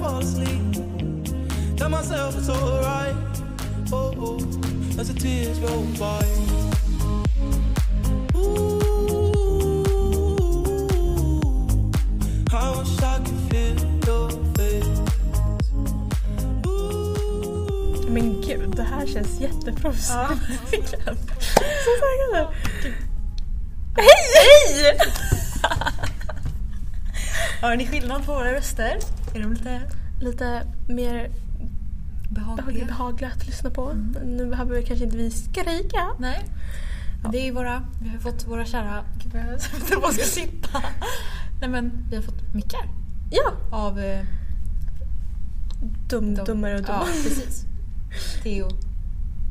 fall asleep. Tell myself it's alright. Oh, oh, as the tears roll by. Ooh, I wish I could feel your face. Ooh. Men gud, det här känns jätteproffsigt. Verkligen. Så taggad. Hej! Hej! Hör ni skillnad på våra röster? Är de lite Lite mer behagliga? behagliga att lyssna på. Nu behöver vi kanske inte vi skrika. Nej. Men Det är ju våra, vi har fått våra kära... Gud vad jag sitter på att ska sitta. Nej men vi har fått mickar Ja, av... eh, dum, de- dummare och Ja, dumma. precis. Theo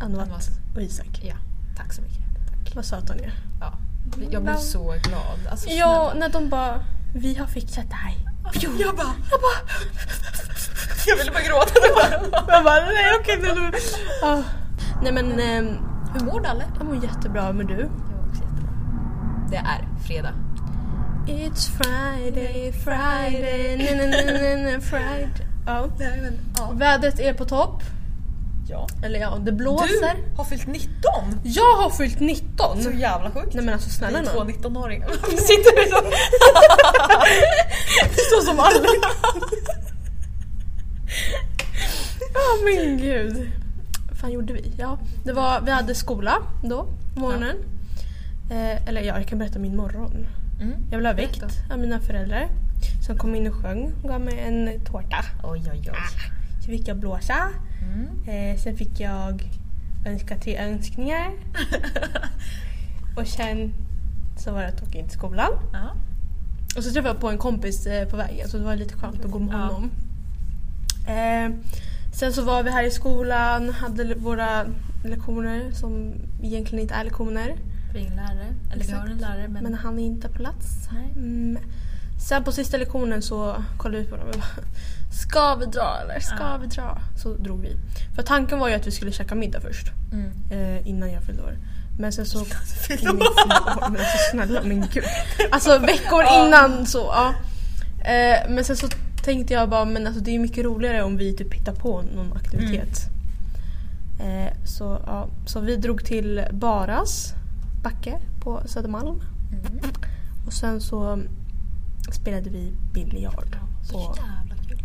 Anvat Anvas. och Isak. Ja, tack så mycket. Tack. Vad söta ni är. Ja. Jag blev så glad. Alltså, Ja, snälla. när de bara Vi har fixat det här. Jag bara... Jag bara... Jag ville bara gråta. Jag bara nej okej nu. nu." Ja. Ah. Nej men ehm, Hur mår Nalle? jag mår jättebra men du? Jag mår också jättebra. Det är fredag. It's Friday, Friday, na, na, na, na, na, Friday. Ja. Vädret är på topp. Ja. Eller ja, det blåser. Du har fyllt 19! Jag har fyllt 19! Så jävla sjukt. Nej men alltså snälla Vi är två nån. 19-åringar. Sitter du så? Så som alla. Ja men gud. Vad fan gjorde vi? Ja, det var, vi hade skola då, på morgonen. Eh, eller ja, jag kan berätta min morgon. Mm. Jag blev väckt Berätta. av mina föräldrar som kom in och sjöng och gav mig en tårta. Oj oj Mm. oj. Så fick jag blåsa. Eh, sen fick jag önska till önskningar. och sen så var det att åka in till skolan. Ja. Och så träffade jag på en kompis eh, på vägen så det var lite skönt att gå med Ja. honom. Eh, sen så var vi här i skolan, hade l- våra lektioner som egentligen inte är lektioner. Vi är ingen lärare. Eller vi Exakt. har en lärare men... Men han är inte på plats. Nej. Mm. Sen på sista lektionen så kollade vi på dem och bara Ska vi dra eller? Ska Ja. vi dra? Så drog vi. För tanken var ju att vi skulle käka middag först. Mm. Eh, innan jag fyllde år. Men sen så... Innan jag fyllde år, Men alltså snälla men gud. Alltså veckor Ja. innan så ja. Eh, men sen så tänkte jag bara men alltså det är ju mycket roligare om vi typ hittar på någon aktivitet. Eh, så, ja. så vi drog till Baras backe på Södermalm. Mm. Och sen så spelade vi biljard. Så På, jävla kul.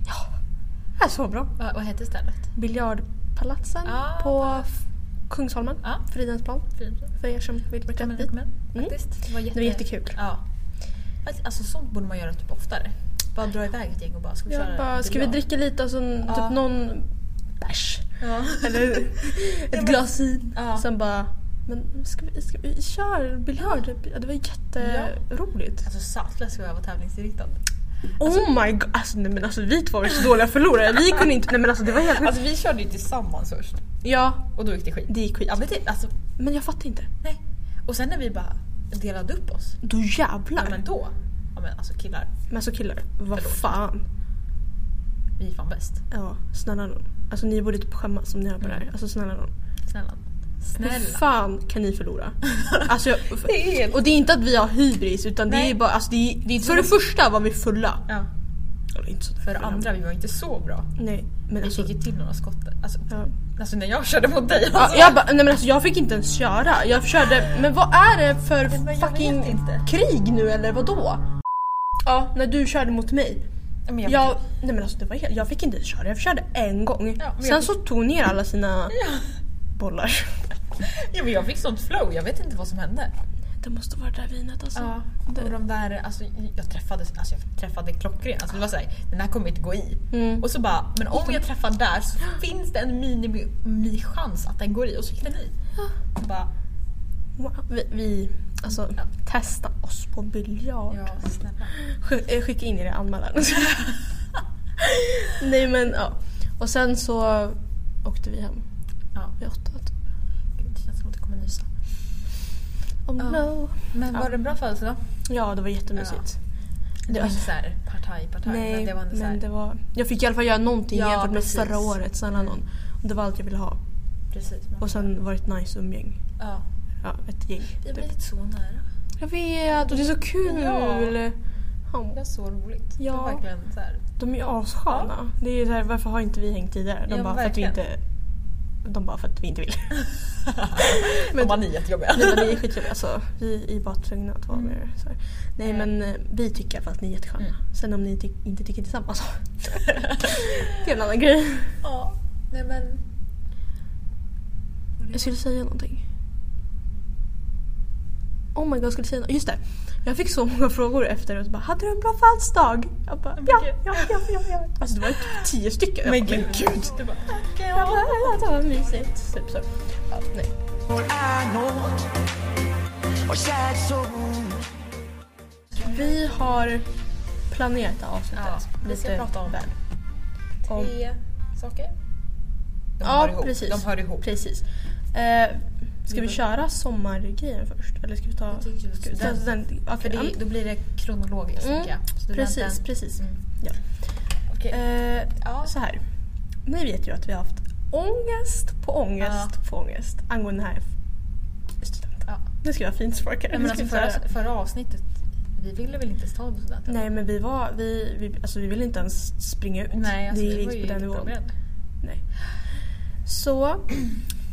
ja, så bra. Vad, vad heter stället? Biljardpalatsen Ah, på F- Kungsholmen. Ja. Fridhemsplan Fint. för er som vill åka Rekommen, dit. rekommen. Faktiskt. Det var, jätte... Det var jättekul. Ja. Alltså, Alltså sånt borde man göra typ oftare. Bara dra iväg ett gäng och bara ska vi Jag köra bara, ska vi biljard? dricka lite och sen Ja. typ någon bärs? Ja. Eller ett glas vin. Ja. Sen bara, men ska vi, ska vi köra biljard? typ. Ja. Det var jätteroligt. Alltså Saltlös ska jag vara tävlingsinriktad. oh my god, alltså, nej, men alltså vi två var ju så dåliga förlorare. Vi kunde inte, nej men alltså det var helt Alltså vi körde ju tillsammans först. Ja, Och då gick det skit. det gick skit. Ja men typ alltså Men jag fattar inte. nej. Och sen när vi bara delade upp oss. Då jävlar. Ja men då. Ja men alltså killar. Men alltså killar, vad Förlåt. fan. Vi är fan bäst. Ja, snälla nån. Alltså ni borde typ skämmas om ni hör på det Mm. här. Alltså snälla nån. Snälla. Hur Snälla. fan kan ni förlora? Alltså, jag, Det är helt- och det är inte att vi har hybris utan det Nej. är bara, alltså, det är, det är, för det första var vi fulla. Ja. Eller inte så För det fulla. andra, vi var inte så bra. Nej men Vi alltså. fick ju till några skott. Alltså, Ja. alltså när jag körde mot dig. Ja, Alltså. jag bara, nej men alltså jag fick inte ens köra. Jag körde, men vad är det för men jag fucking vet inte. krig nu eller vad då? Ja, när du körde mot mig. men Jag, jag, nej men alltså det var helt, jag fick inte ens köra, jag körde en gång. Ja, men Sen jag så tog hon ner alla sina Ja. bollar. ja, men jag fick sånt flow, jag vet inte vad som hände. Det måste vara det där vinet alltså. Och de där, alltså, jag, träffade, alltså, jag träffade klockren. Alltså, det var såhär, den här kommer inte gå i. Mm. Och så bara, men om jag träffar där så finns det en minimichans att den går i. Och så gick den i. Och bara, Wow, Vi, vi alltså, Ja. testa oss på biljard. ja snälla. Sk- eh, Skicka in er anmälan. nej men ja. Och sen så åkte vi hem Ja, vid åtta. typ. gud, det känns som att det kommer nysa. Oh Ja. no. Men Ja. var det en bra födelsedag? Ja, det var jättemysigt. Det Det var var- inte såhär partaj, partaj. men det var inte såhär, men det var... Jag fick i alla fall göra någonting Ja, jämfört med precis. förra året. Snälla någon. Och Det var allt jag ville ha. precis. Men, Och sen var det ett nice umgäng. ja. Ja, ett gäng. typ. Vi har blivit så nära. Jag vet och det är så kul! Ja. Ja, Det var så roligt. Ja. Det var verkligen så här. De är ju assköna. Det är ju så här, varför har inte vi hängt tidigare? De Ja, bara för att vi verkligen. inte... De bara för att vi inte vill. Men, Men- var ni jättejobbiga. Nej men ni är skitjobbiga alltså. Vi är bara tvungna att vara Mm. med er. Så här. Nej Mm. men eh, vi tycker i alla fall att ni är jättesköna. Mm. Sen om ni ty- inte tycker detsamma så. det är en annan grej. ja, nej men. Jag skulle säga någonting. Oh my god, jag skulle säga något. Just det. Jag fick så många frågor efteråt. Bara, hade du en bra födelsedag? Jag bara, Men ja, gud. ja, ja, ja, ja. Alltså det var typ tio stycken. Jag bara, Det var, Jag bara, ja, det var mysigt. Typ så. Ja, nej. All I know are sad songs. Vi har planerat det här avsnittet. Ja, vi ska lite prata om väl. Om- tre saker. De Ja, hör ihop. precis. De hör ihop. Precis. Eh, ska Vi vi bör- köra sommargrejen först? Eller ska vi ta... Jag tycker vi Ska vi ta student. student? Okej, För ja, det, då blir det kronologiskt Mm, tänker jag. Studenten. Precis, precis. Mm. Ja. Okej. Eh, ja. så här. Ni vet ju att vi har haft ångest på ångest på ångest angående den här studenten. Ja. Nu ska jag vara finsparkare. Nej, Nu men ska alltså vi förra, köra- förra avsnittet, vi ville väl inte ens ta på studenten? Nej men vi var, vi, vi, alltså, vi ville inte ens springa ut. Nej alltså, det vi gick var ju på den inte nivån. förberedda. Så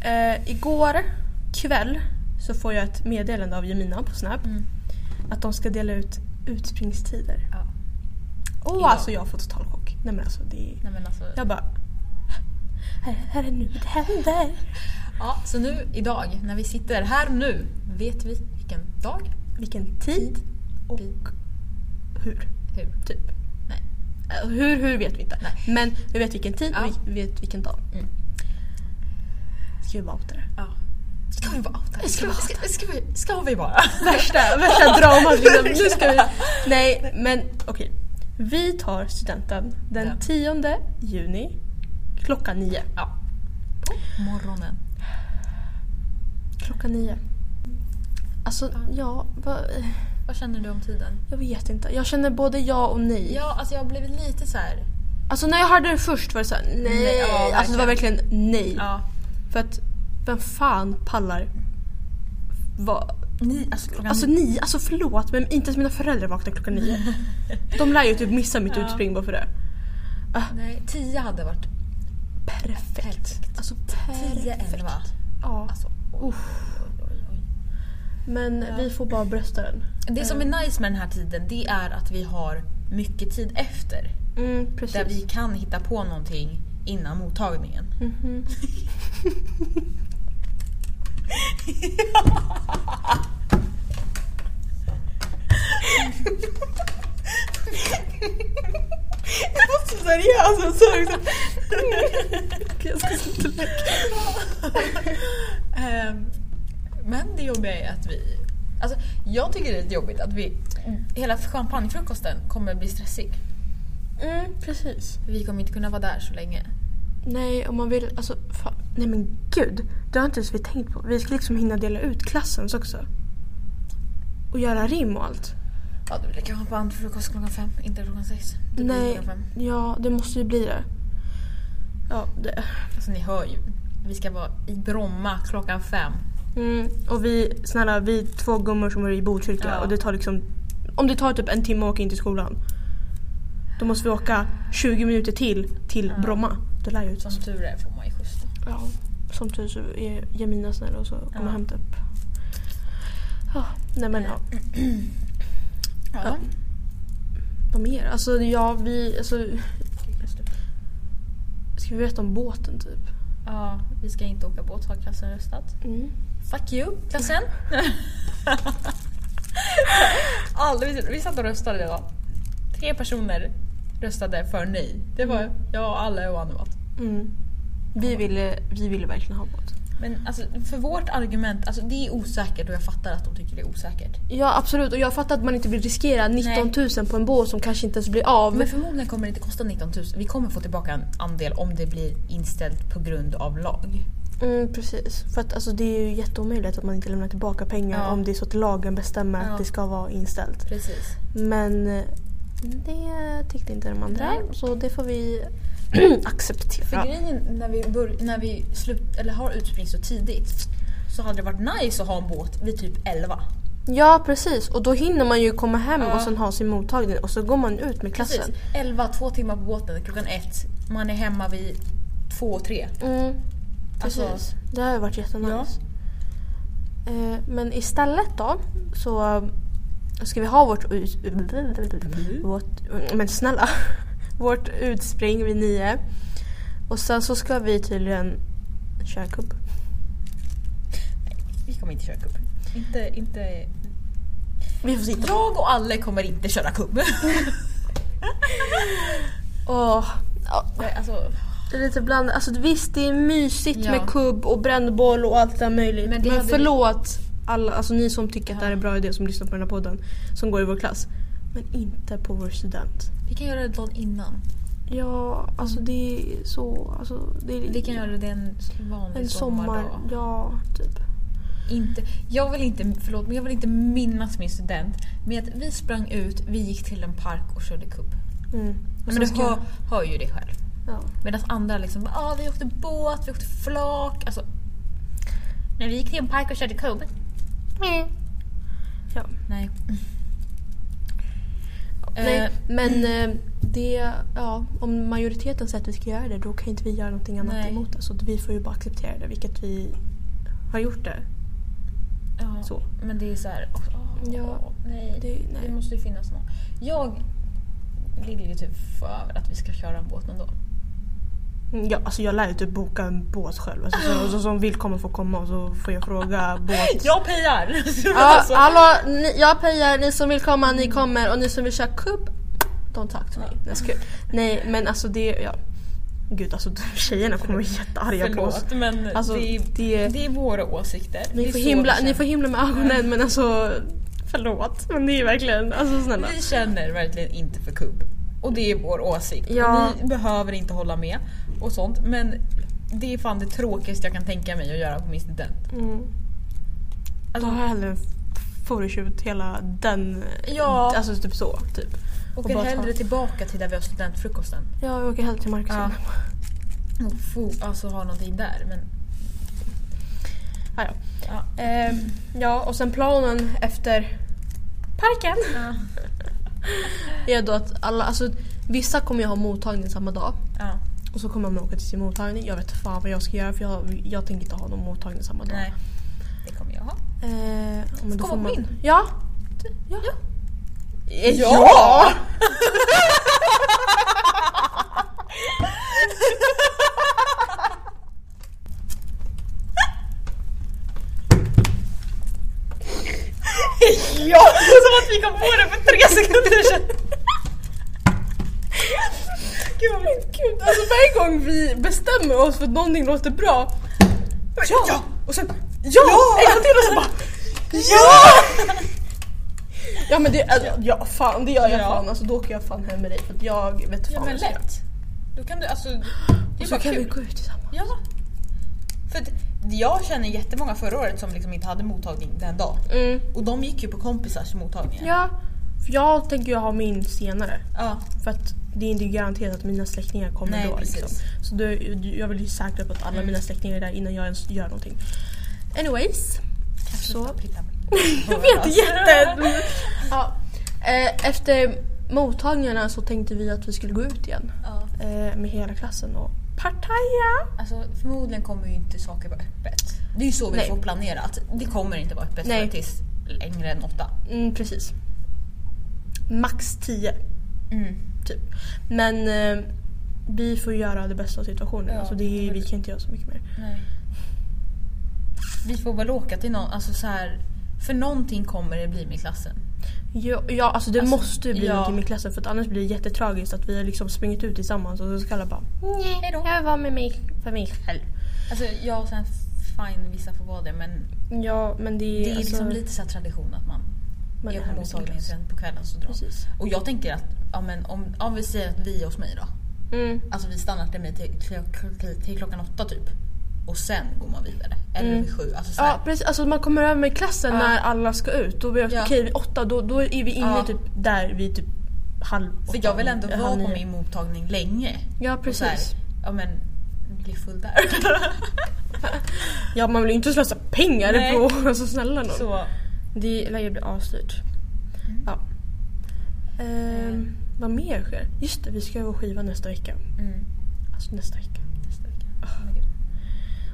eh, igår kväll så får jag ett meddelande av Jemina på Snap Mm. att de ska dela ut utspringstider. Ja. Och Idag. alltså jag får total chock. Nej men alltså det är... Nej, men alltså, Jag bara... Här, här är nu det händer. ja, så nu idag, när vi sitter här nu, vet vi vilken dag, Vilken tid och hur. hur. Typ. Nej. Eh, Hur, hur vet vi inte. Nej. Men vi vet vilken tid Ja. och vi vet vilken dag. Mm. Ska vi bara outa det? Ja. Ska vi bara outa? Ska Ska, vi vi- ska, ska, vi, ska vi bara? Värsta, värsta dramat liksom. Nu ska vi... Nej men okej. Vi tar studenten Ja. den 10 juni klockan nio. Ja. På morgonen. Klockan nio. Alltså Ja. ja, va, Vad känner du om tiden? jag vet inte. Jag känner både ja och nej. Ja, alltså jag har blivit lite så här. Alltså när jag hörde det först var det såhär nej. Nej, ja, alltså det var verkligen nej. Ja. För att vem fan pallar va, Ni, alltså klockan... Alltså nio, alltså förlåt men inte ens mina föräldrar vaknar klockan nio. De lär ju typ missa mitt Ja. utspring bara för det. nej, tio hade varit. Perfekt. Perfekt. Alltså Tio, elva. perfekt. Ja. Alltså, oj, oj, oj, oj. Men Ja. vi får bara brösta den. Det som är nice med den här tiden det är att vi har mycket tid efter. Mm, precis. Där vi kan hitta på någonting innan mottagningen. Mhm. Jag var så seriös och så liksom... Jag ska inte lägga. Ehm, Men det jobbiga är att vi... Alltså, jag tycker det är lite jobbigt att vi... Hela champagnefrukosten kommer bli stressig. Mm, precis. Vi kommer inte kunna vara där så länge. Nej, om man vill, alltså fan. Nej men gud. Det har inte ens vi tänkt på. Vi ska liksom hinna dela ut klassens också. Och göra rim och allt. Ja, det blir champagnefrukost klockan fem, inte klockan sex. Det blir Nej, klockan fem. ja det måste ju bli det. Ja, det. Alltså ni hör ju. Vi ska vara i Bromma klockan fem. Mm. Och vi, snälla, vi är två gummor som är i Botkyrka Ja. och det tar liksom... Om det tar typ en timme att åka in till skolan. Då måste vi åka 20 minuter till, till Ja. Bromma. Det lär ju ut Som oss. tur är får man ju skjuts då. Ja. Som tur så är Jemina snäll och så kommer Ja. jag hämta upp. Ja, nej men ja. Ja. Vad mer? Alltså ja, vi... Alltså, ska vi berätta om båten typ? Ja, vi ska inte åka båt har klassen röstat. Mm. Fuck you klassen! Aldrig, vi satt och röstade idag. Tre personer röstade för nej. Det var jag och alla och Annemat. Mm. Vi, ville, vi ville verkligen ha båt. Men alltså, för vårt argument, alltså det är osäkert och jag fattar att de tycker det är osäkert. Ja absolut och jag fattar att man inte vill riskera 19 000 på en båt som kanske inte ens blir av. Men förmodligen kommer det inte kosta 19 000. Vi kommer få tillbaka en andel om det blir inställt på grund av lag. Mm, precis. För att alltså, det är ju jätteomöjligt att man inte lämnar tillbaka pengar Ja. om det är så att lagen bestämmer Ja. att det ska vara inställt. Precis. Men eh, det tyckte inte de andra Nej. så det får vi acceptera. För grejen när vi, bör, när vi slut, eller har utspring så tidigt så hade det varit nice att ha en båt vid typ 11. Ja precis och då hinner man ju komma hem Ja. och sen ha sin mottagning och så går man ut med klassen. Precis. 11, två timmar på båten, klockan ett. Man är hemma vid två, tre. Mm, precis. Alltså- det har ju varit jättenice. Eh, men istället då så eh, ska vi ha vårt, ut, Mm. vårt men snälla, vårt utspring vid nio. Och sen så ska vi tydligen köra kubb. Vi kommer inte köra cup. Inte, inte... Vi får sitta. Jag och Alle kommer inte köra cup. Åh, ja, Nej, alltså, det är lite blandat. Alltså visst det är mysigt Ja. med kubb och brännboll och allt det där möjligt. Men Men, det hade- förlåt alla, alltså ni som tycker att det här är Ja. en bra idé som lyssnar på den här podden. Som går i vår klass. Men inte på vår student. vi kan göra det dagen innan. Ja, alltså det är så... Alltså, det är Vi kan göra det en vanlig en sommar. sommardag. Ja, typ. Inte, jag, vill inte, förlåt, men jag vill inte minnas min student med att vi sprang ut, vi gick till en park och körde cup. Mm. Och Men sen du ska- hör, hör ju det själv. Ja. Medan andra liksom bara, ah, vi åkte båt, vi åkte flak. Alltså, när vi gick till en park och körde kubb. Eh. Ja. Nej. Eh, Nej, men eh, det... Ja, om majoriteten säger att vi ska göra det då kan inte vi göra någonting annat Nej. emot det. Så att vi får ju bara acceptera det, vilket vi har gjort det. ja, Så. Men det är så här, åh, åh, Ja, nej. Det, Det, nej. måste ju finnas någon. Jag ligger ju typ för över att vi ska köra en båt någon dag. Mm, Ja, alltså jag lär ju typ boka en båt själv. Alltså, så, och så, som vill komma får komma och så får jag fråga båt. Jag pejar! Ja, alltså. hallå, ni, jag pejar, ni som vill komma, ni kommer och ni som vill köra kubb, don't talk to me. Nej, jag skojar. Nej men alltså det, ja. Gud alltså tjejerna kommer bli jättearga på oss. Förlåt men Alltså, det, är, det- det är våra åsikter. Det Ni är får, så himla, vi ni känner. får himla med ögonen men alltså förlåt. Men det är verkligen, alltså snälla. Vi känner verkligen inte för kubb. Och det är vår åsikt. Ja. Ni behöver inte hålla med och sånt men det är fan det tråkigaste jag kan tänka mig att göra på min student. Mm. Alltså, Alltså, har jag hellre en photoshoot hela den, Ja. alltså typ så. Typ. och åker bara ta- hellre tillbaka till där vi har studentfrukosten. Ja, Jag åker hellre till Marcus. Ja. Ja. Och få, alltså ha någonting där men Ah, ja. ja. Ehm, ja och sen planen efter parken. Ja. är då att alla, alltså, vissa kommer ju ha mottagning samma dag ja. och så kommer man åka till sin mottagning. Jag vet fan vad jag ska göra för jag, jag tänker inte ha någon mottagning samma dag. Nej. Det kommer jag ha. Eh, men Ska man gå in? Ja. Ja. Eh, Ja! Ja! Som att vi kom på det för tre sekunder sedan! Gud, men gud. Alltså varje gång vi bestämmer oss för att någonting låter bra. Ja! Och sen ja! En gång till och så bara ja! Ja men det, alltså, ja fan det gör jag Ja. fan. Alltså då åker jag fan hem med dig för att jag vet fan Ja vad men jag ska göra. lätt. Då kan du alltså... Det är Och så bara kan vi kul. gå ut tillsammans. Ja. För att jag känner jättemånga förra året som liksom inte hade mottagning den dagen. Mm. Och de gick ju på kompisars mottagningar. Ja, för jag tänker ju ha min senare. Ja. För att det är inte garanterat att mina släktingar kommer Nej, då. precis. Liksom. Så då, jag vill ju säkra på att alla Mm. mina släktingar är där innan jag ens gör någonting. Anyways. Så. Jag Vet jätte... ja. eh, efter mottagningarna så tänkte vi att vi skulle gå ut igen. Ja. Eh, med hela klassen och partaja. Alltså, förmodligen kommer ju inte saker vara öppet. Det är ju så vi Nej. får planerat. Det kommer inte vara öppet Nej. förrän tills längre än åtta. Mm, precis. Max 10. Mm. Typ. Men eh, vi får göra det bästa av situationen. Ja, alltså det är, vi men- kan inte göra så mycket mer. Nej. Vi får väl åka till någon, alltså så här, för någonting kommer det bli med klassen. Ja, ja alltså det Alltså, måste ju bli ja. någonting med klassen för att annars blir det jättetragiskt att vi har liksom sprungit ut tillsammans och så ska alla bara Hej Nej, då. jag var med mig för mig själv. Alltså jag och sen fine, vissa får vara det men Ja men det är, det är alltså, liksom lite så här tradition att man, man är är på här med sin mottagningen klass. sen på kvällen så drar man. Precis. Och jag tänker att ja, men om, om vi säger att vi är hos mig då. Mm. Alltså vi stannar till mig till, till, till klockan åtta typ. Och sen går man vidare. Eller Mm. vid sju. Alltså så här, Ja precis, alltså man kommer över med klassen Ja. när alla ska ut. Då blir det Ja. okej vid åtta, då, då är vi inne Ja. typ där vid typ halv åtta. För jag vill ändå eh, vara halv på nio. min mottagning länge. Ja Och så här, precis. ja men, bli full där. Ja man vill ju inte slösa pengar Nej. på, alltså snälla nån. så Det lär ju bli asdyrt. Mm. Ja. Ehm, Mm. Vad mer sker? Just det, vi ska ju vara skiva nästa vecka. Mm. Alltså nästa vecka. Nästa vecka. Oh my God.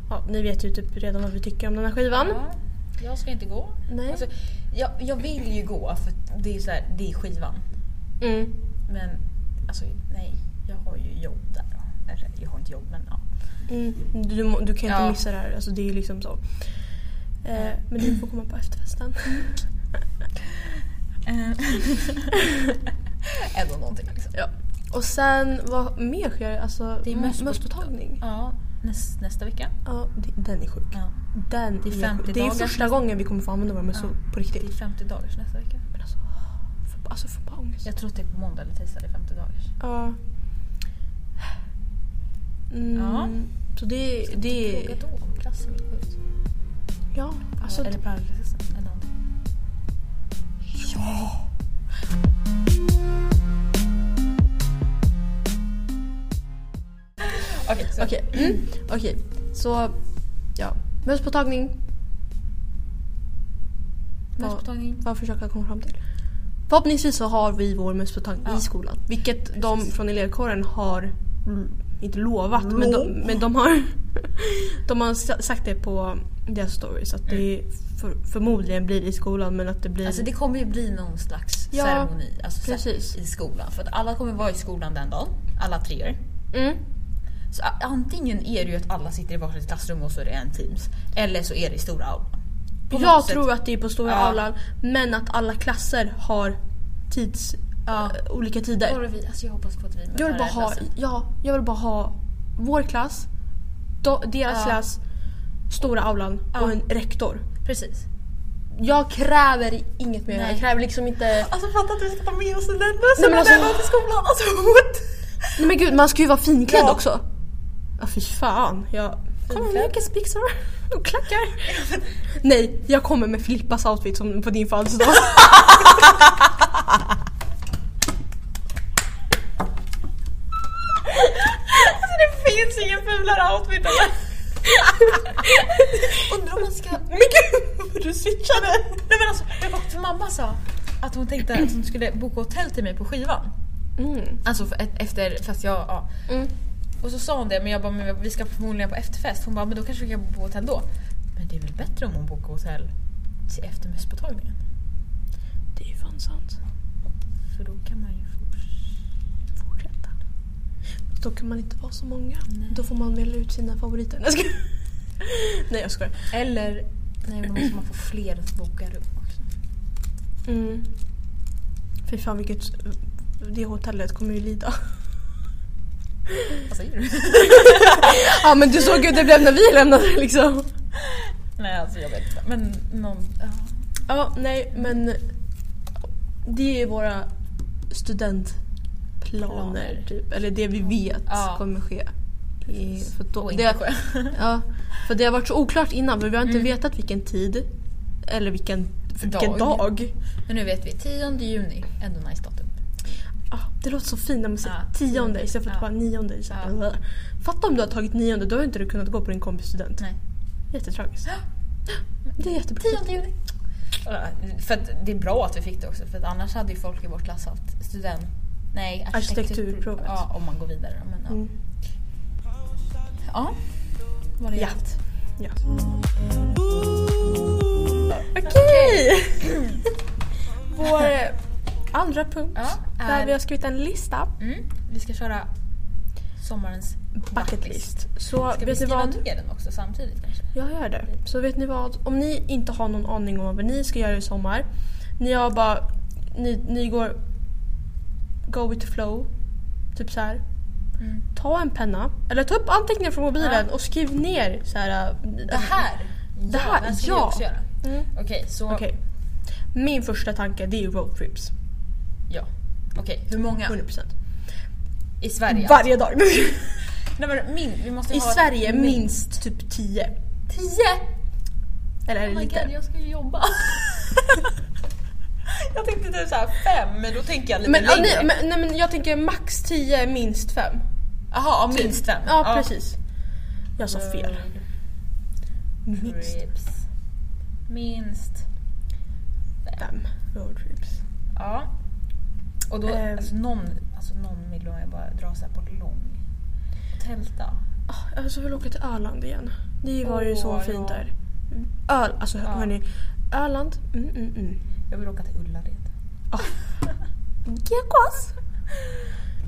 Ja, ni vet ju typ redan vad vi tycker om den här skivan. Ja, jag ska inte gå. Nej. Alltså, jag, jag vill ju gå för det är, så här, det är skivan. Mm. Men alltså nej, jag har ju jobb där. Eller jag har inte jobb men ja. Mm. Du, må- du kan ju inte Ja. missa det här. Alltså, det är ju liksom så. Eh, men du får komma på efterfesten. Eh. Ändå någonting liksom. ja. Och sen vad mer sker? Alltså, Det är m- mössport- mösspåtagning. Ja, näs, nästa vecka. Ja, det- den är sjuk. Ja. Den Det är är 50 sjuk. Det är dagar. första gången vi kommer få använda våra mössor på Det är riktigt. 50 dagars nästa vecka. Men alltså, för, alltså för bara ångest. Jag tror att det är på måndag eller tisdag det är 50 dagars. Ja. Mm. Ja. Så det, det Fråga då om klassen vill gå ut. Ja, alltså... eller parallellklassen eller någonting. ja. Okej, så- Okej. Mm. Okej. Så, ja. Mösspåtagning. Mösspåtagning. Vad försöker jag komma fram till? Förhoppningsvis så har vi vår mösspåtagning Ja. i skolan. Vilket de från elevkåren har, mm, inte lovat, men, de, Lov. men de har de har sa- sagt det på deras stories. Att det för, förmodligen blir i skolan men att det blir... Mm. Alltså det kommer ju bli någon slags Ja, ceremoni alltså, så här, precis. i skolan. För att alla kommer vara i skolan den dagen, alla treor. mm. Så a- antingen är det ju att alla sitter i varsitt klassrum och så är det en Teams. Eller så är det i stora aulan. På något Jag sätt- tror att det är på stora Ja. aulan men att alla klasser har tids, Ja. eh, olika tider. Bara vi, alltså jag hoppas på att vi Jag vill, bara ha, ja, jag vill bara ha vår klass, do, deras Ja. klass, stora aulan Ja. och en rektor. Precis. Jag kräver inget mer. Nej. Jag kräver liksom inte... Alltså fatta att vi ska ta med oss den där Nej, men alltså- till skolan. Alltså what? Nej men gud, man ska ju vara finklädd Ja. också. Ja fy fan. Jag kommer med Finklädd? läkespixar och klackar. Nej, jag kommer med Filippas outfit som på din födelsedag. Alltså det finns ingen fulare outfit eller? Undrar om man ska... Men gud vad du switchade! Nej men alltså, jag bara, för mamma sa att hon tänkte att hon skulle boka hotell till mig på skivan. Mm. Alltså för, ett- efter, fast jag, ja. Mm. Och så sa hon det men jag bara, men vi ska förmodligen på efterfest. Hon bara, men då kanske vi kan bo på hotell då. Men det är väl bättre om hon bokar hotell till eftermiddagsmottagningen? Det är ju fan sant. För då kan man ju fortsätta. Fortsätta. Då kan man inte vara så många. Nej. Då får man välja ut sina favoriter. Nej, jag skojar. Nej jag skojar. Eller, nej då måste man få fler att boka rum också. Mm. Fy fan vilket... Det hotellet kommer ju lida. Vad säger du? Ja men du såg ju hur det blev när vi lämnade liksom. nej alltså jag vet inte. Men någon, ja. Ja, nej men det är ju våra studentplaner Planer. typ. Eller det vi vet Ja. kommer ske. I, för, då, Och det, inte sjö. ja, för det har varit så oklart innan för vi har inte Mm. vetat vilken tid eller vilken för vilken Dag. dag. Men nu vet vi, 10 juni, ändå nice datum. Ah, det låter så fint när man säger Ja, tionde istället för att ja. bara nionde. Så här. Ja. Blah. Fatta om du har tagit nionde, då har inte du kunnat gå på din kompis student. Nej. Jättetragiskt. Det är jättebra. 10 juni. Eh, För att det är bra att vi fick det också för att annars hade ju folk i vår klass haft student... Nej, Arkitekturprovet. Ja, om man går vidare. Men, ja. Mm. ja. Var det Ja. allt? Ja. Okej! Vår eh, andra punkt Ja, där är- vi har skrivit en lista. Mm. Vi ska köra sommarens Bucket list. Så Ska vi vet ni skriva vad? ner den också samtidigt kanske? Jag gör det. Så vet ni vad? Om ni inte har någon aning om vad ni ska göra i sommar. Ni har bara... Ni, ni går... Go with the flow. Typ så här. Mm. Ta en penna. Eller ta upp anteckningar från mobilen och skriv ner så här... eh, Det här! Det här, det ska vi ja. också göra. Mm. Okej, så... Okej. Min första tanke det är ju roadtrips. Ja. Okej, hur många? 100%. I Sverige? Varje dag. Nej, men min, vi måste I ha Sverige minst typ 10. 10! Eller Oh my lite. God, jag ska ju jobba. jag tänkte typ såhär fem, men då tänker jag lite Men, ja, längre. nej, men, nej, men jag tänker max 10, minst 5. Jaha, ja, minst fem. Ja, precis. Jag sa fel. Minst. Minst fem road trips. Ja. Och då, Ehm. alltså någon, alltså någon vill jag bara dra så här på lång. Tälta. Ah, jag så vill åka till Öland igen. Det var ju Åh, så fint ja. där. Öl, alltså Ja. hörni. Öland. Mm, mm, mm. Jag vill åka till Ullared. Gekos.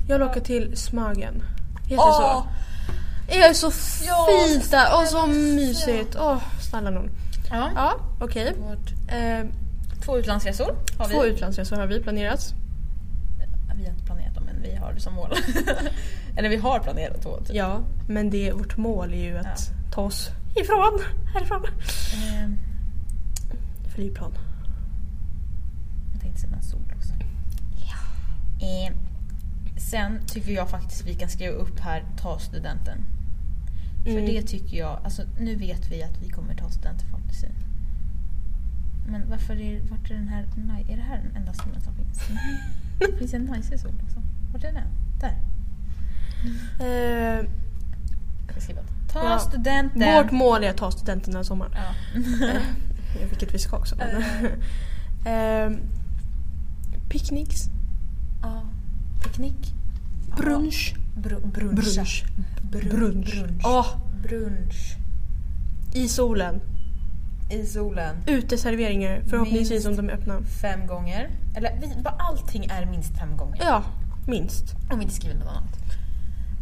Jag vill åka till Smögen. Heter det Åh! så? Det är så Ja, fint där och så snälla. mysigt. Åh, snälla nån. Ja. Ja, okej. Eh, Två utlandsresor har två vi. utlandsresor har vi planerat. vi har inte planerat dem men vi har det som mål. Eller vi har planerat två. Typ. Ja, men det, vårt mål är ju att ta oss ifrån härifrån. Ehm, Flygplan. jag tänkte säga en sol också. Ehm, sen tycker jag faktiskt vi kan skriva upp här ta studenten. Mm. För det tycker jag, alltså nu vet vi att vi kommer ta studenten förhoppningsvis. Men varför är, vart är den här, Naj- är det här den enda solen som finns? Nej. Det finns en najsig sol också. Vart är den? Där. Eh, Jag ska skriva. Ta Ja. studenten! vårt mål är att ta studenten den här sommaren. Ja. Eh, Vilket vi ska också. Men. Eh, picknicks. ja. Picknick. Brunch. Br- bruncha. Brunch. Brun- Brunch. Brunch. Åh, Brunch. I solen. I solen. Uteserveringar förhoppningsvis om de är öppna. Fem gånger. Eller vi, bara allting är minst fem gånger. Ja, minst. Om vi inte skriver något annat.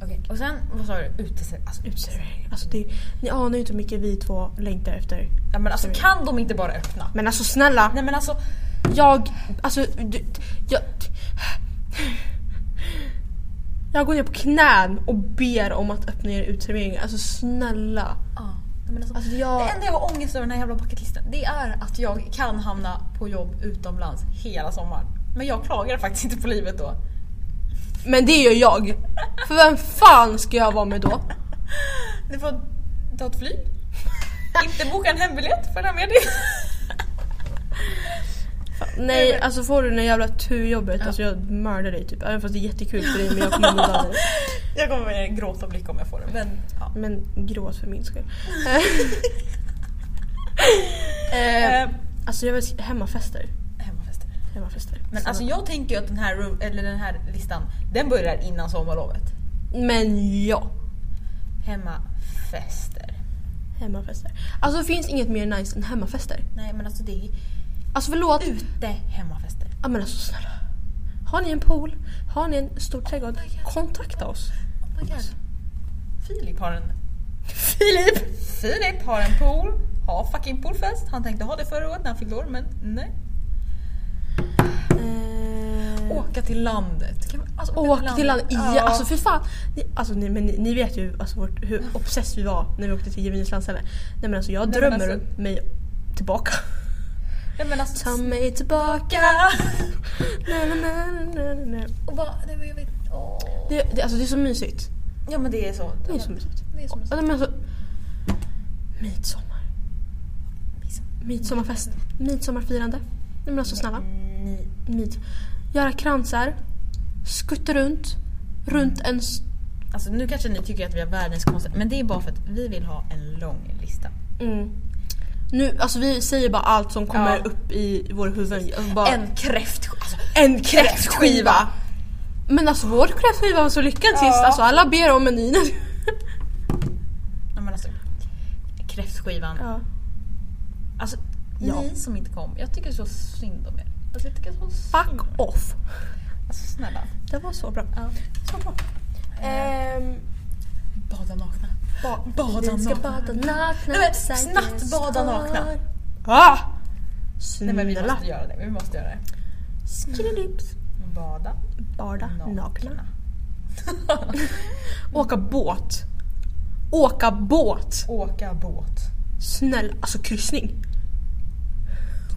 Okej. Och sen, vad sa du? Uteser- alltså, Uteserveringar. Alltså det, ni anar ju inte hur mycket vi två längtar efter. Ja, men alltså kan de inte bara öppna? Men alltså snälla! Nej men alltså, Jag, alltså, du, jag... Jag går ner på knän och ber om att öppna er uteserveringar. Alltså snälla. ja, nej, men alltså, Alltså jag... Det enda jag har ångest över den här jävla bucketlisten det är att jag kan hamna på jobb utomlands hela sommaren. Men jag klagar faktiskt inte på livet då. Men det gör jag. För vem fan ska jag vara med då? Du får ta ett flyg. inte boka en hembiljett, följa med dig. Nej, alltså får du det jävla turjobbet, alltså jag mördar dig typ. Även fast det är jättekul för dig men jag kommer mörda dig. jag kommer med gråta blick om jag får det. Men, ja. Men gråt för min skull. eh, Eh, alltså jag vill sk- hemmafester. hemmafester. Hemmafester. Men Så- alltså jag tänker ju att den här, ro- eller den här listan, den börjar innan sommarlovet. men ja. Hemmafester. Hemmafester. Alltså det finns inget mer nice än hemmafester. Nej men alltså det är Alltså förlåt. ute hemmafester. Ja men alltså snälla. Har ni en pool? Har ni en stor trädgård? Kontakta oss. Oh my god. Filip har en... Filip! Filip har en pool. Har fucking poolfest. Han tänkte ha det förra året när han fyllde år men nej. Eh, Åka till landet. Kan man, alltså, Åk till landet igen. Ja. Alltså för fan. Ni, alltså, ni, men ni, ni vet ju alltså, vårt, hur obsess vi var när vi åkte till Jemins landställe. Nej men alltså jag Nej, men drömmer alltså- mig tillbaka. Nej, men alltså, Ta mig tillbaka. Na, na, na, na, na, na. och bara, nej, men jag vet, åh. Det, det, alltså, det är så mysigt. Ja men det är så. Det är så mysigt. Det är så Ja, mysigt. men alltså, midsommar. Midsommar. Midsommarfest. Midsommarfirande. Nej men alltså snälla. Ni- Mid. Göra kransar. Skutta runt. Runt en... s- Alltså nu kanske ni tycker att vi har världens konstiga, men det är bara för att vi vill ha en lång lista. Mm. Nu, alltså vi säger bara allt som kommer Ja. upp i våra huvuden. Alltså, bara- kräft... Alltså, En kräftskiva! Men alltså vår kräftskiva var så lyckad sist, Ja. alltså alla ber om menyn. nej, men alltså, kräftskivan. Ja. Alltså Ja. ni som inte kom, jag tycker så synd om er. Alltså, jag tycker så synd. Fuck off! Alltså snälla. Det var så bra. Ja. Så bra. Ehm, Bada nakna. ba- Bada vi ska nakna. bada nakna. Nej, men upside snabbt down bada nakna. Ah! Nej men vi Snälla. måste göra det, vi måste göra det. Skrillips. Bada Bada nakna. nakna. Åka båt. Åka båt! Åka båt. Snälla, alltså kryssning.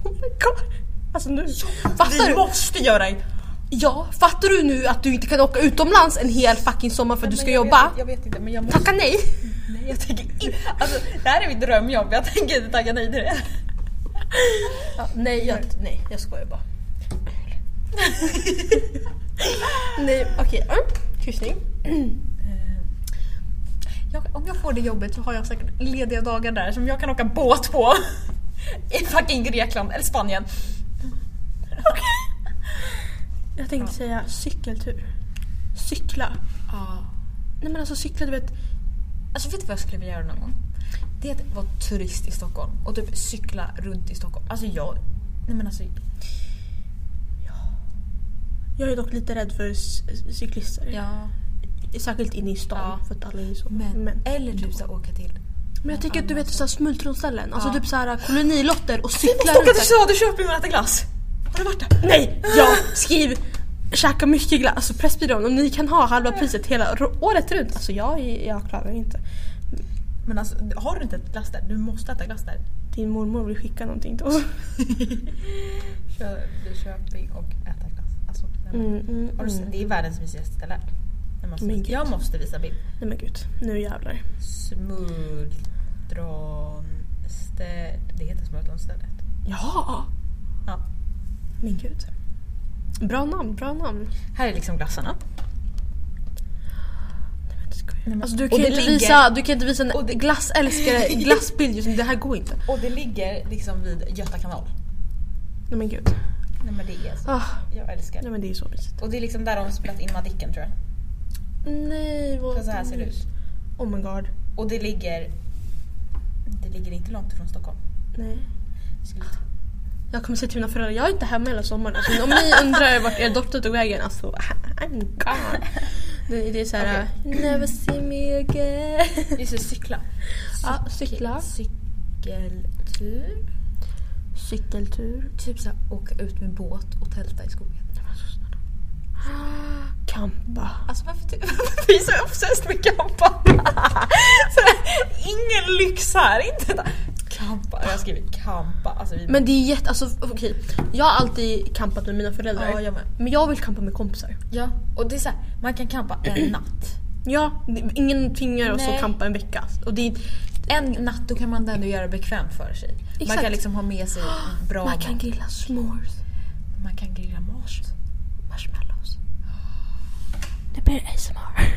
Oh my god. Alltså nu. Fattar Vi du? måste göra det! Ja, fattar du nu att du inte kan åka utomlands en hel fucking sommar för att du ska Men jag jobba? Vet, jag vet inte men jag måste. Tacka nej! Nej, jag tänker inte. Alltså, det här är mitt drömjobb. Jag tänker inte tacka nej till det. nej, jag, nej, jag skojar bara. nej, okej. Mm. Kryssning. Jag, om jag får det jobbet så har jag säkert lediga dagar där som jag kan åka båt på. I fucking Grekland eller Spanien. Jag tänkte Ja. säga cykeltur. Cykla. Ah. Ja. Nej men alltså cykla, du vet. Alltså vet du vad jag skulle vilja göra någon gång? Det är att vara turist i Stockholm och typ cykla runt i Stockholm. Alltså jag... Nej men alltså... Jag är dock lite rädd för c- cyklister. Ja. Särskilt inne i stan Ja. för att alla är ju så. Men, men. Eller typ såhär åka till... Men jag tycker att du vet såhär smultronställen, alltså Ja. typ såhär kolonilotter och cykla Åka runt till där. Söderköping och äta glass! Har du varit där? Nej! Ja! Skriv! Käka mycket glass, alltså Pressbyrån, om ni kan ha halva priset hela rå- året runt. Alltså jag, är- jag klarar inte. Men alltså, har du inte ett glass där? Du måste äta glass där. Din mormor vill skicka någonting till oss. Köping och äta glass. Alltså, nej, men- Mm, mm, Har du sett? mm. Det är världens mysigaste ställe. Jag måste, Men gud. jag måste visa bild. Nej men gud, nu jävlar. Smultronstäd... Det heter Smultronstället. Ja! Ja. Men gud. Bra namn, bra namn. Här är liksom glassarna. Nej, men skojar. men- Alltså, du, och kan ju det inte ligger- visa, du kan inte visa en och det- glassälskare glassbild just nu, det här går inte. Och det ligger liksom vid Göta kanal. Nej men gud. Nej men det är så. Ah, Jag älskar nej det. men det är så mysigt. Och det är liksom där de har spelat in Madicken tror jag. Nej vad... Så, så här ser det ut. Oh my god. Och det ligger... Det ligger inte långt ifrån Stockholm. Nej. Skulle jag tro. Jag kommer säga till mina föräldrar, jag är inte hemma hela sommaren. Alltså, om ni undrar vart er dotter tog vägen, alltså I'm gone. Det, det är såhär, never see me again. Just det, cykla. Ja, cykla. Cykeltur. Cykeltur. Typ såhär åka ut med båt och tälta i skogen. Campa. Alltså varför, ty- varför är vi så obsessed med campa? Sådär, ingen lyx här, inte detta. Kampa. Jag har skrivit kampa. Alltså, vi... Men det är jätte, alltså okej. Jag har alltid campat med mina föräldrar. Ja, jag med. Men jag vill campa med kompisar. Ja, och det är såhär, man kan campa en natt. Ja, det- ingen tvingar oss Nej. att campa en vecka. Och det är, En natt, då kan man ändå göra bekvämt för sig. Man Exakt. kan liksom ha med sig bra man kan mat. grilla s'mores. Man kan grilla mat. Marshmallows. Det blir ASMR.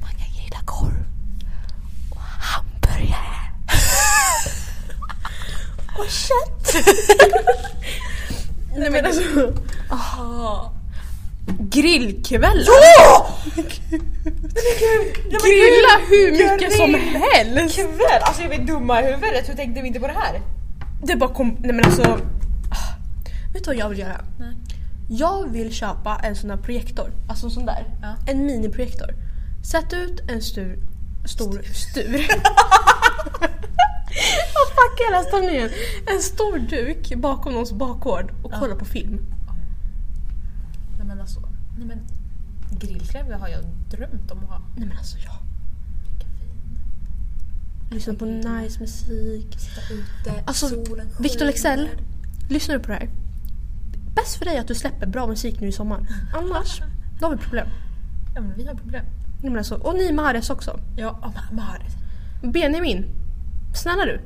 Man kan grilla korv. Och hamburgare. och kött. Nej men alltså. Grillkväll! Ja! Grilla hur mycket som helst! Kväll! Alltså jag är dumma i huvudet, hur tänkte vi inte på det här? Det bara kom... Nej men alltså... ah. Vet du vad jag vill göra? Jag vill köpa en sån här projektor. Alltså en sån där. Ja. En miniprojektor. Sätt ut en stur... Stor stur. Vad fuck är hela stavningen? En stor duk bakom någons bakgård och Ja. kolla på film. Nej men alltså, nej men grillkväll har jag drömt om att ha. Nej men alltså ja. Lyssna på nice musik. Ute, Alltså, solen Victor skiner. Leksell, lyssnar du på det här? Bäst för dig att du släpper bra musik nu i sommar. Annars, då har vi problem. Ja men vi har problem. Nej, men alltså, och ni Mahrez också. Ja, oh, ma- Maharis. Benjamin. Snälla du.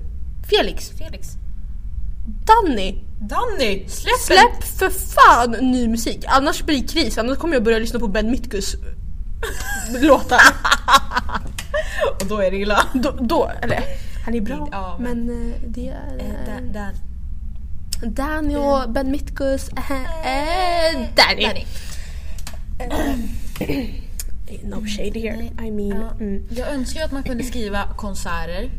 Felix. Felix. Danny. Danny! Släpp, Släpp för fan ny musik. Annars blir det kris. Annars kommer jag börja lyssna på Ben Mitkus låtar. Och då är det illa. då, då, eller han är bra. Ja, men... men- eh, det är... Eh, eh, där- där. Danny och Ben Mitkus. eh, eh, Danny. Danny. No shade here. I mean... Eh, Ja. Mm. Jag önskar ju att man kunde skriva konserter.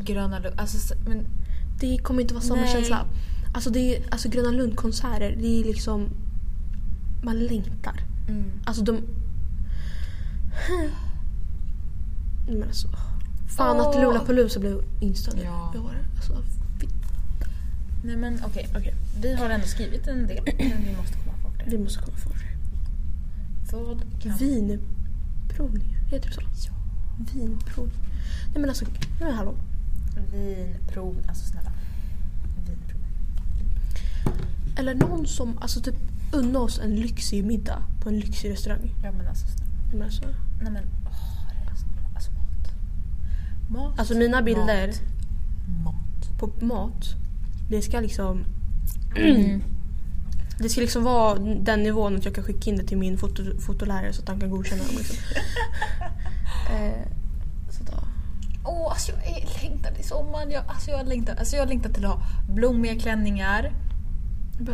Gröna Lund. Alltså, s- men Det kommer inte vara samma Nej. känsla. Alltså, det är, alltså Gröna Lund-konserter, det är liksom... Man längtar. Mm. Alltså de... Nej, Men alltså... Fan att Åh. Lollapalooza blev inställd Ja. i år. Alltså, vi, Nej men okej, Okej. vi har ändå skrivit en del, men vi måste komma bort det. vi måste komma ifrån det. Vad kan... Vinprovningar, heter det så? Ja. Vinprovningar. Nej men alltså, nej men hallå. Vinprov, alltså snälla. Vinprov. Eller någon som alltså typ unna oss en lyxig middag på en lyxig restaurang. Ja men alltså snälla. Nej, men alltså, Nej men åh, det är så- alltså mat. Mat. alltså mina bilder Mat. Mat. på mat, det ska liksom... Mm. Det ska liksom vara den nivån att jag kan skicka in det till min foto, fotolärare så att han kan godkänna dem. Liksom. eh, så att, ja. Åh, alltså jag är- längtar till sommaren. Jag, alltså jag längtar, alltså jag längtar till att ha blommiga klänningar.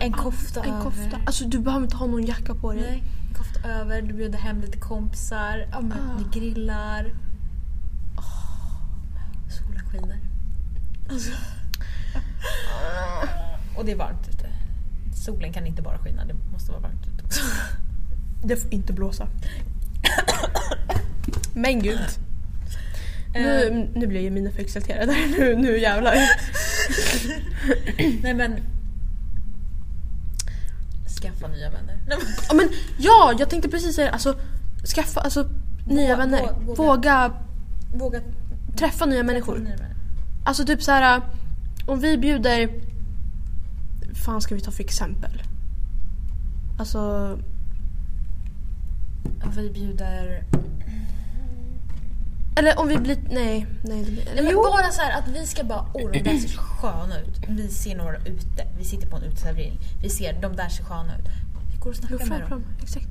En kofta ah, en kofta. över. Alltså du behöver inte ha någon jacka på dig. Nej, en kofta över, du bjuder hem lite kompisar, ja, men, Ah. ni grillar. Åh, solen skiner. Alltså. Och det är varmt ute. Solen kan inte bara skina, det måste vara varmt ute också. Det får inte blåsa. Men gud. Ehm, Nu, nu blir ju mina för exalterade. Nu, nu jävlar. Nej men... Skaffa nya vänner. Nej, men- Ja, men, ja, jag tänkte precis säga det. Alltså, skaffa alltså, nya Vå- vänner. våga. vå- våga. Våga träffa nya få människor. nya vänner. Alltså typ så här. om vi bjuder... fan ska vi ta för exempel? Alltså, Vi bjuder... eller om vi blir... Nej, nej. Det blir, Nej, men bara så här att vi ska bara, åh de där ser sköna ut. Vi ser några ute, vi sitter på en uteservering. Vi ser, de där ser sköna ut. Vi går och Gå snackar fram, med dem. fram. Exakt.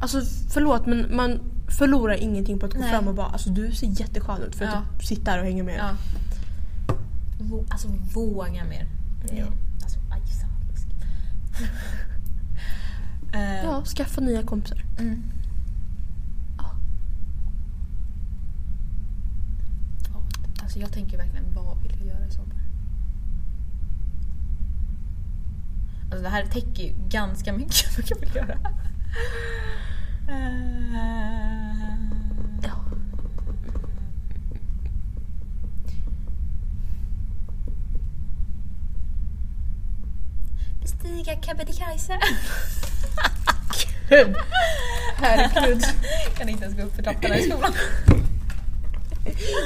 Alltså förlåt men man förlorar ingenting på att gå Nej. fram och bara alltså du ser jätteskön ut för att Ja. du sitter där och hänger med. Ja. Vå, alltså våga mer. Ja. Alltså, aj, så läskigt. Eh, Ja, skaffa nya kompisar. Mm. Ja. Ja, Alltså jag tänker verkligen, vad vill vi göra i sommar? Alltså det här täcker ju ganska mycket vad jag vill göra. Eh, Ja. Bestiga Kebnekaise. Kul! Herregud. kan inte ens gå upp för trapporna i skolan.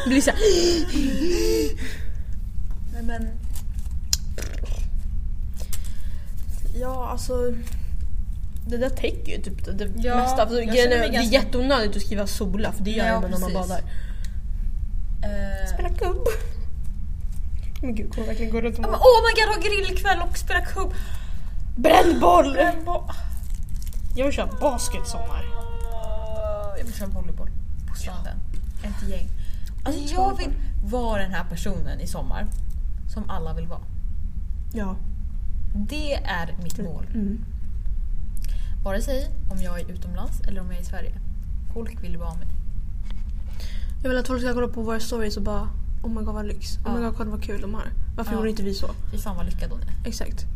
Blir så här, Nej men, ja alltså det där täcker ju typ det, det Ja, mesta. Alltså, jag grejen känner är, mig Det är ganska- jätteonödigt att skriva sola för det gör Ja, man när man precis. badar. eh, Spela kubb. Men gud kommer verkligen gå runt och Ja, men oh my god, ha grillkväll och spela kubb. Bränn boll! Bränn boll. Jag vill köra basket i sommar. Jag vill köra volleyboll på stranden. Ett gäng. Alltså jag vill vara den här personen i sommar som alla vill vara. Ja. Det är mitt mål. Mm. Vare sig om jag är utomlands eller om jag är i Sverige. Folk vill vara mig. Jag vill att folk ska kolla på våra stories och bara Oh my god vad lyx. Oh my Ja. god kolla vad kul de har. Varför Ja. gjorde inte vi så? Fy fan vad lyckad hon är. Exakt.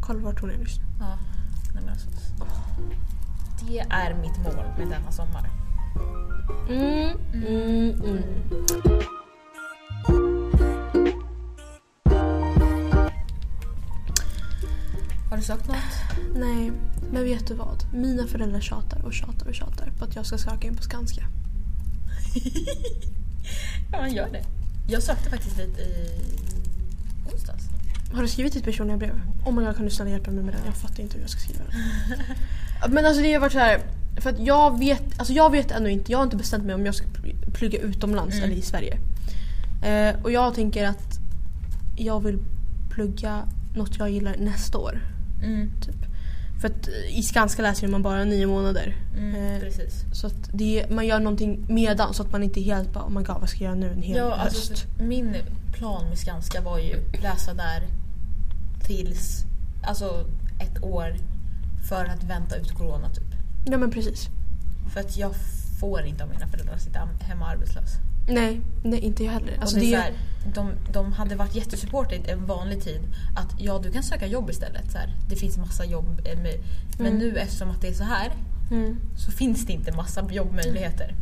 Kolla vart hon är just nu. Ja. Nej, men alltså. Det är mitt mål med denna sommar. Mm, mm, mm. Har du sökt något? Nej, men vet du vad? Mina föräldrar tjatar och tjatar och tjatar på att jag ska söka in på Skanska. Ja, jag gör det. Jag sökte faktiskt dit i onsdags. Har du skrivit ditt personliga brev? Oh my god kan du snälla hjälpa mig med det? Jag fattar inte hur jag ska skriva det. men alltså det har varit så här. För att jag vet, alltså jag vet ännu inte, jag har inte bestämt mig om jag ska pl- plugga utomlands Mm. eller i Sverige. Eh, och jag tänker att jag vill plugga något jag gillar nästa år. Mm, Typ. För att eh, i Skanska läser ju man bara nio månader. Eh, mm, precis. Så att det, man gör någonting medan så att man inte helt bara oh my god vad ska jag göra nu en hel Ja, höst. alltså, för min plan med Skanska var ju läsa där tills, alltså ett år för att vänta ut corona typ. Ja men precis. För att jag får inte av mina föräldrar att sitta hemma arbetslös. Nej, nej inte jag heller. Alltså, och det det- är så här, de, de hade varit jättesupported en vanlig tid att ja du kan söka jobb istället. Så här. Det finns massa jobb. eh, med- Men Mm. nu eftersom att det är så här mm. så finns det inte massa jobbmöjligheter.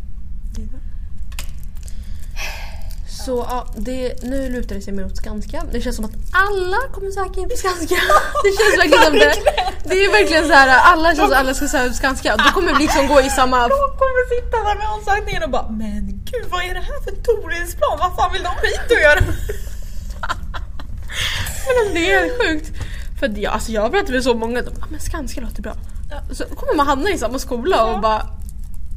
Så ja, det, nu lutar det sig mer åt Skanska. Det känns som att alla kommer söka in på Skanska. Det känns verkligen som det. Det är verkligen så här, alla känns att alla ska söka in på Skanska. Då kommer vi liksom gå i samma... De kommer sitta där med ansökningen och bara Men gud vad är det här för Torilsplan? Vad fan vill de hit och göra? Men alltså, det är helt sjukt. För att jag, alltså, jag har pratat med så många, de bara, "Ah, men Skanska låter bra. Ja. Så kommer man hamna i samma skola och Ja. bara...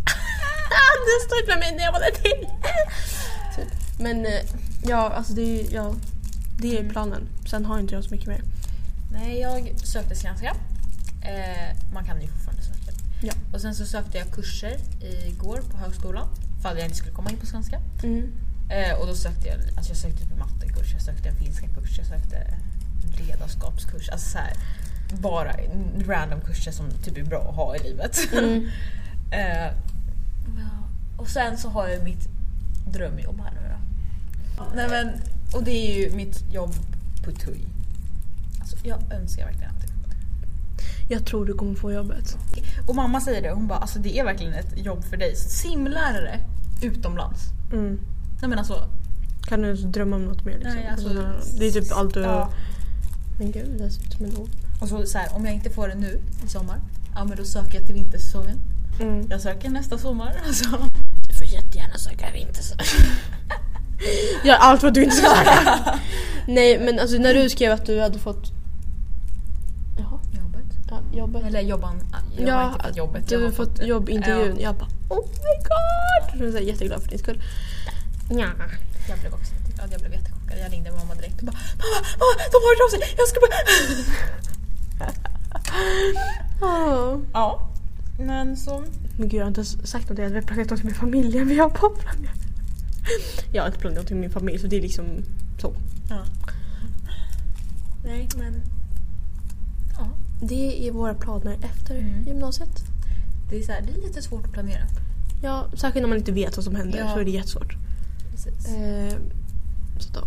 "Ah, Du står inte med mig när jag var där till. Typ. Men eh, ja, alltså det är, ja, det är planen. Sen har inte jag så mycket mer. Nej, jag sökte Skanska. Eh, man kan ju fortfarande söka. Ja. Och sen så sökte jag kurser igår på högskolan. För att jag inte skulle komma in på Skanska. Mm. Eh, och då sökte jag, alltså jag sökte typ en mattekurs, jag sökte en finska kurs, jag sökte en ledarskapskurs. Alltså så här, bara random kurser som typ är bra att ha i livet. Mm. Eh, ja. och sen så har jag mitt drömjobb här nu då. Nej, men, och det är ju mitt jobb på TUI. Alltså, jag önskar verkligen att det Jag tror du kommer få jobbet. Och mamma säger det, hon bara alltså det är verkligen ett jobb för dig. Simlärare utomlands. Mm. Nej men alltså. Kan du inte drömma om något mer? Liksom? Nej, alltså- det är typ allt du... Ja. Men gud, det ser ut som en O. Och så, så här, om jag inte får det nu i sommar, ja men då söker jag till vintersäsongen. Mm. Jag söker nästa sommar. Alltså. Du får jättegärna söka vintersäsong. Gör allt vad du inte ska söka. Nej men alltså när du skrev att du hade fått Jaha, Jobbet. ja, jobbet. Eller jobban, jag har inte fått jobbet. Du jag har fått jobbintervjun. Ja. Jag bara oh my god! Jag är så här jätteglad för din skull. Ja. Jag blev också ja, jag blev jättechockad. Jag ringde mamma direkt och bara mamma, mamma, de har hört av sig! Jag ska bara... Oh. Ja. Men så... Men gud jag har inte ens sagt något. Jag har planerat något till min familj. Men jag har bara planerat. Jag har inte planerat något till min familj så det är liksom så. Ja. Nej men... Ja. Det är våra planer efter Mm. gymnasiet. Det är, så här, det är lite svårt att planera. Ja, särskilt när man inte vet vad som händer Ja. så är det jättesvårt. Precis. Eh, så då.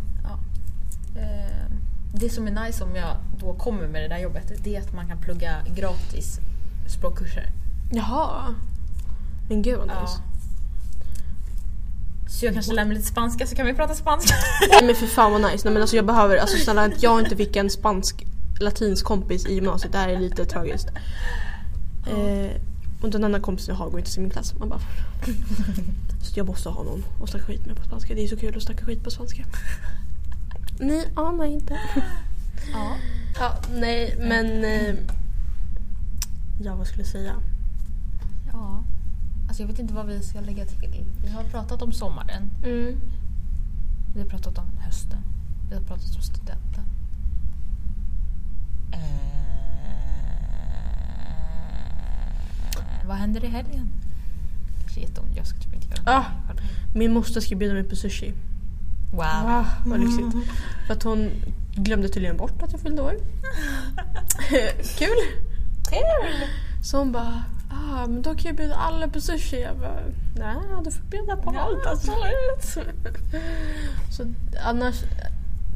Eh, det som är nice om jag då kommer med det där jobbet det är att man kan plugga gratis språkkurser. Jaha. Men gud vad nice. Så jag kanske lär mig lite spanska så kan vi prata spanska. Nej men för fan vad nice. Nej, men alltså jag behöver, alltså snälla att jag inte fick en spansk latinsk kompis i gymnasiet. Det här är lite tragiskt. Eh, och den andra kompisen jag har går inte till min klass. Man bara... så jag måste ha någon att snacka skit med på spanska. Det är så kul att snacka skit på spanska. Ni anar inte. ja. Ja, nej men... Eh, ja vad skulle jag säga? ja. Alltså jag vet inte vad vi ska lägga till. Vi har pratat om sommaren. Mm. Vi har pratat om hösten. Vi har pratat om studenten. Eh, vad händer i helgen? Kanske jätteom... Jag ska typ inte göra Ah. någonting. Min moster ska bjuda mig på sushi. Wow. Ah, vad lyxigt. Mm. För att hon glömde tydligen bort att jag fyllde år. Kul! Kul! Så hon bara ah, men då kan jag bjuda alla på sushi. Jag bara nej du får bjuda på Ja, allt alltså. absolut. Så annars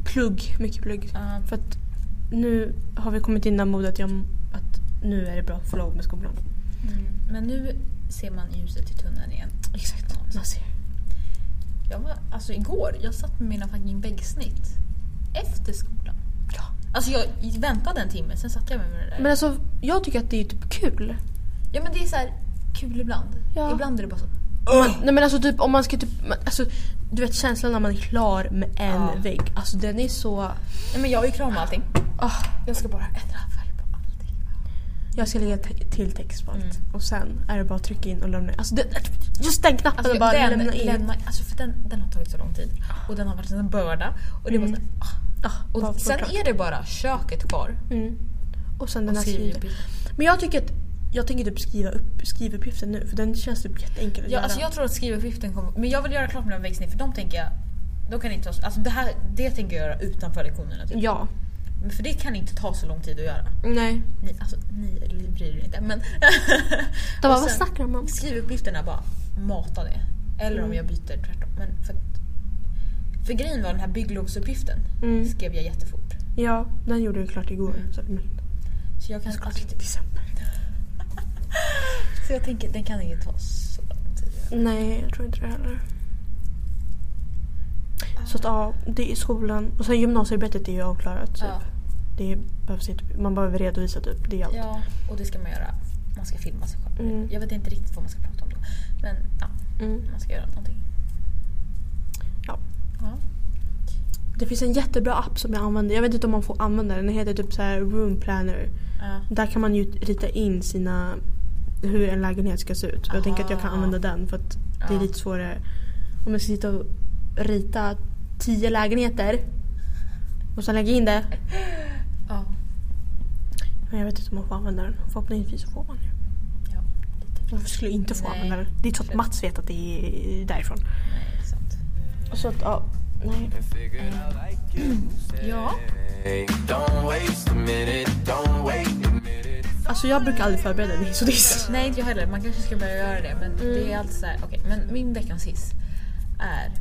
plugg, mycket plugg. Ja, För att nu har vi kommit in i det här modet jag, att nu är det bra att få lov med skolan. mm. Men nu ser man ljuset i tunneln igen. Exakt. Man ser. Jag var, alltså igår, jag satt med mina fucking väggsnitt. Efter skolan. Ja. Alltså jag väntade en timme, sen satt jag med mig det där. Men alltså jag tycker att det är typ kul. Ja men det är så här kul ibland. Ja. Ibland är det bara så. Man, nej men alltså typ om man ska typ, man, alltså, du vet känslan när man är klar med en Ja. vägg. Alltså den är så... Nej men jag är ju klar med allting. ah. Jag ska bara Alltså, ändra färg på allting. Jag ska lägga te- till text på allt. Mm. Och sen är det bara att trycka in och lämna in. Alltså det, just den knappen Alltså, och bara den, lämna in. lämna- alltså för den, den har tagit så lång tid. Och den har varit en börda. Och det är bara så Mm. här, ah. Ah, Och bara sen förklart. är det bara köket kvar. Mm. Och sen den Och här skriv. skriv. Men jag tycker att jag tänker typ skriva upp skrivuppgiften nu för den känns typ jätteenkel att Ja, göra. alltså jag tror att skrivuppgiften kommer... Men jag vill göra klart mina väggsnitt för de tänker jag... De kan inte ta, alltså det, här, det tänker jag göra utanför lektionerna. Typ. Ja. Men För det kan inte ta så lång tid att göra. Nej. Ni, alltså, ni bryr er inte. Men De bara, Och vad sen- snackar de om? skrivuppgifterna bara mata det. Eller om Mm. jag byter tvärtom. Men för, att, för grejen var den här bygglovsuppgiften Mm. skrev jag jättefort. Ja, den gjorde jag klart igår. Mm. Så, men, Så jag, kan, såklart alltså, inte i december. så jag tänker den kan inte ta så lång tid. Nej, jag tror inte det heller. Så att ja, det är skolan. Och sen gymnasiearbetet är ju avklarat. Typ. Ja, Det behövs, inte- man behöver redovisa typ. Det är allt. ja, och det ska man göra. Man ska filma sig själv. Mm. Jag vet inte riktigt vad man ska prata om då. Men ja, Mm. man ska göra någonting. Ja. Ja. Det finns en jättebra app som jag använder. Jag vet inte om man får använda den. Den heter typ så här Room Planner. Ja. Där kan man ju rita in sina hur en lägenhet ska se ut. Och jag tänker att jag kan Aha. använda den för att det är Ja. lite svårare. Om jag ska sitta och rita tio lägenheter och sen lägga in det. ja. Men jag vet inte om man får använda den. Förhoppningsvis så får man ju. Ja, lite. Varför skulle jag inte få Nej. använda den? Det är så att Mats vet att det är därifrån. Nej, sant. Så att, ja, Nej. Ja. Don't waste a minute, don't wait a minute. Alltså jag brukar aldrig förbereda mig så det är så. Nej inte jag heller, man kanske ska börja göra det men det Mm. är alltid såhär, okej men min veckans hiss är,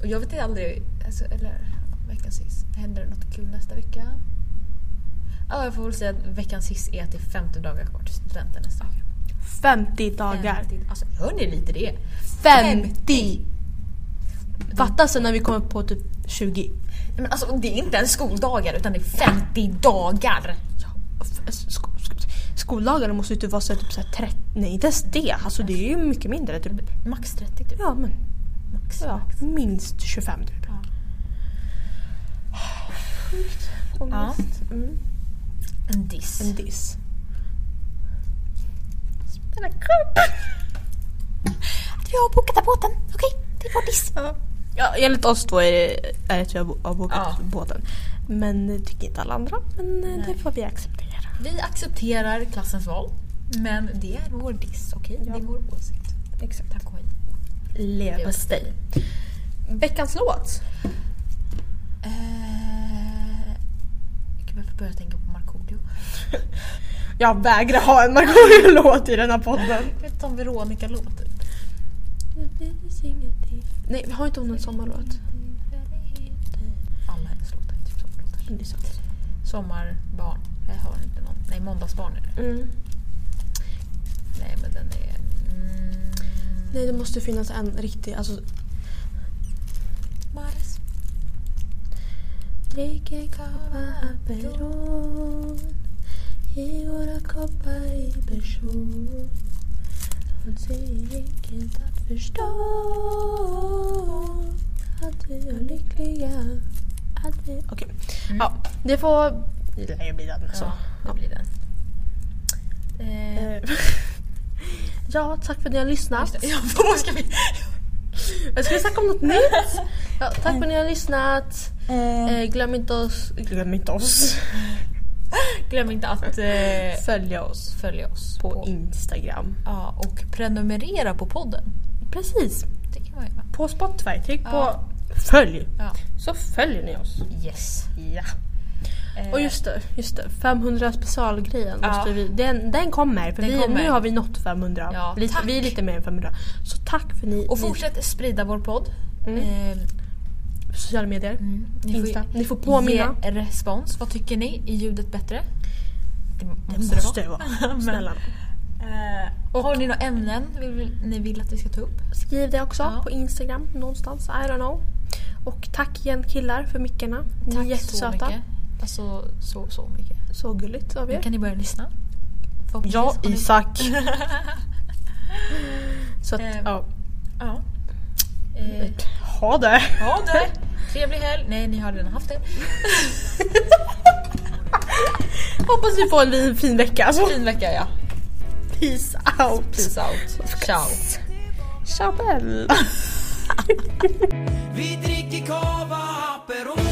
och jag vet inte aldrig, alltså, eller veckans hiss, händer det något kul nästa vecka? Ja jag får väl säga att veckans hiss är att det är 50 dagar kvar till studenten nästa vecka. 50 dagar. 50, alltså hör ni lite det? 50! Fatta sen när vi kommer på typ 20. Nej, men alltså det är inte ens skoldagar utan det är 50 dagar! F- Sko- sko- skoldagarna måste ju typ vara så här, typ så här 30, nej inte ens det. Alltså det är ju mycket mindre. Typ. Max 30 typ. Ja men Max. ja, minst 25 typ. Ja. Sjukt. Ja. Ångest. Mm. En diss. En diss. Spela kort! Att vi har bokat båten, okej? Det är vår diss. Ja, enligt oss två är det, är det att vi har bo- har bokat Ja. båten. Men det tycker inte alla andra. Men eh, det Nej. får vi acceptera. Vi accepterar klassens val, men det är vår diss, okej? Ja. Det är vår åsikt. Exakt. Tack och hej. Leverpastej. Veckans låt. Eh, jag kan börja tänka på Markoolio. Jag vägrar ha en Markoolio-låt i den här podden. Ett som Veronica-låt typ. Nej, vi har inte hon en sommarlåt? Alla hennes låtar är typ sommarlåtar. Men det är sant. Sommarbarn. Jag har inte någon. Nej, Måndagsbarn är det. Mm. Nej, men den är... Mm, Nej, det måste finnas en riktig. Alltså, Mars. Dricker koppar Aperol I våra koppar i person Någonting enkelt att förstå Att vi är lyckliga Att vi... Okej. Mm. Ja, det får... Det lär ju bli den. Så. Ja, det blir den. Eh, Eh, ja, tack för att ni har lyssnat. just det. Ja, vad ska vi... Jag skulle snacka om något nytt. Ja, tack för att ni har lyssnat. Eh, glöm inte oss... Glöm inte oss. Glöm inte att eh, Följa oss. följa oss på Instagram. Ja, och prenumerera på podden. Precis. Det kan man göra. På Spotify. Tryck Ja. på följ. Ja. Så följer ni oss. Yes. Ja. Eh, Och just det, just det 500 specialgrejen. Ja. Måste vi, den, den kommer. För Den vi, kommer. Nu har vi nått 500. Ja, lite, tack. vi är lite mer än 500. Så tack för ni, och fortsätt sprida vår podd. Mm. Eh, ni sociala medier. Ni får Insta. ju Ni får påminna. Ge respons. Vad tycker ni? Är ljudet bättre? Det måste Det det, måste det vara. vara. Snälla. Eh, och har ni några ämnen vi vill, ni vill att vi ska ta upp? Skriv det också Ja. på Instagram någonstans. I don't know. Och tack igen killar för mickarna. Ni är jättesöta. så mycket. Alltså så, så mycket. Så gulligt av Nu er. kan ni börja lyssna. Förhoppningsvis Ja, har ni- Isak. Så att, Ehm, ja. Ja. Eh, Ha det! ha det! Trevlig helg. Nej, ni har redan haft det. Hoppas vi får en fin- fin vecka. Alltså. Fin vecka ja. Peace out! Peace out. Ciao. Chabelle! Vi dricker cava Aperol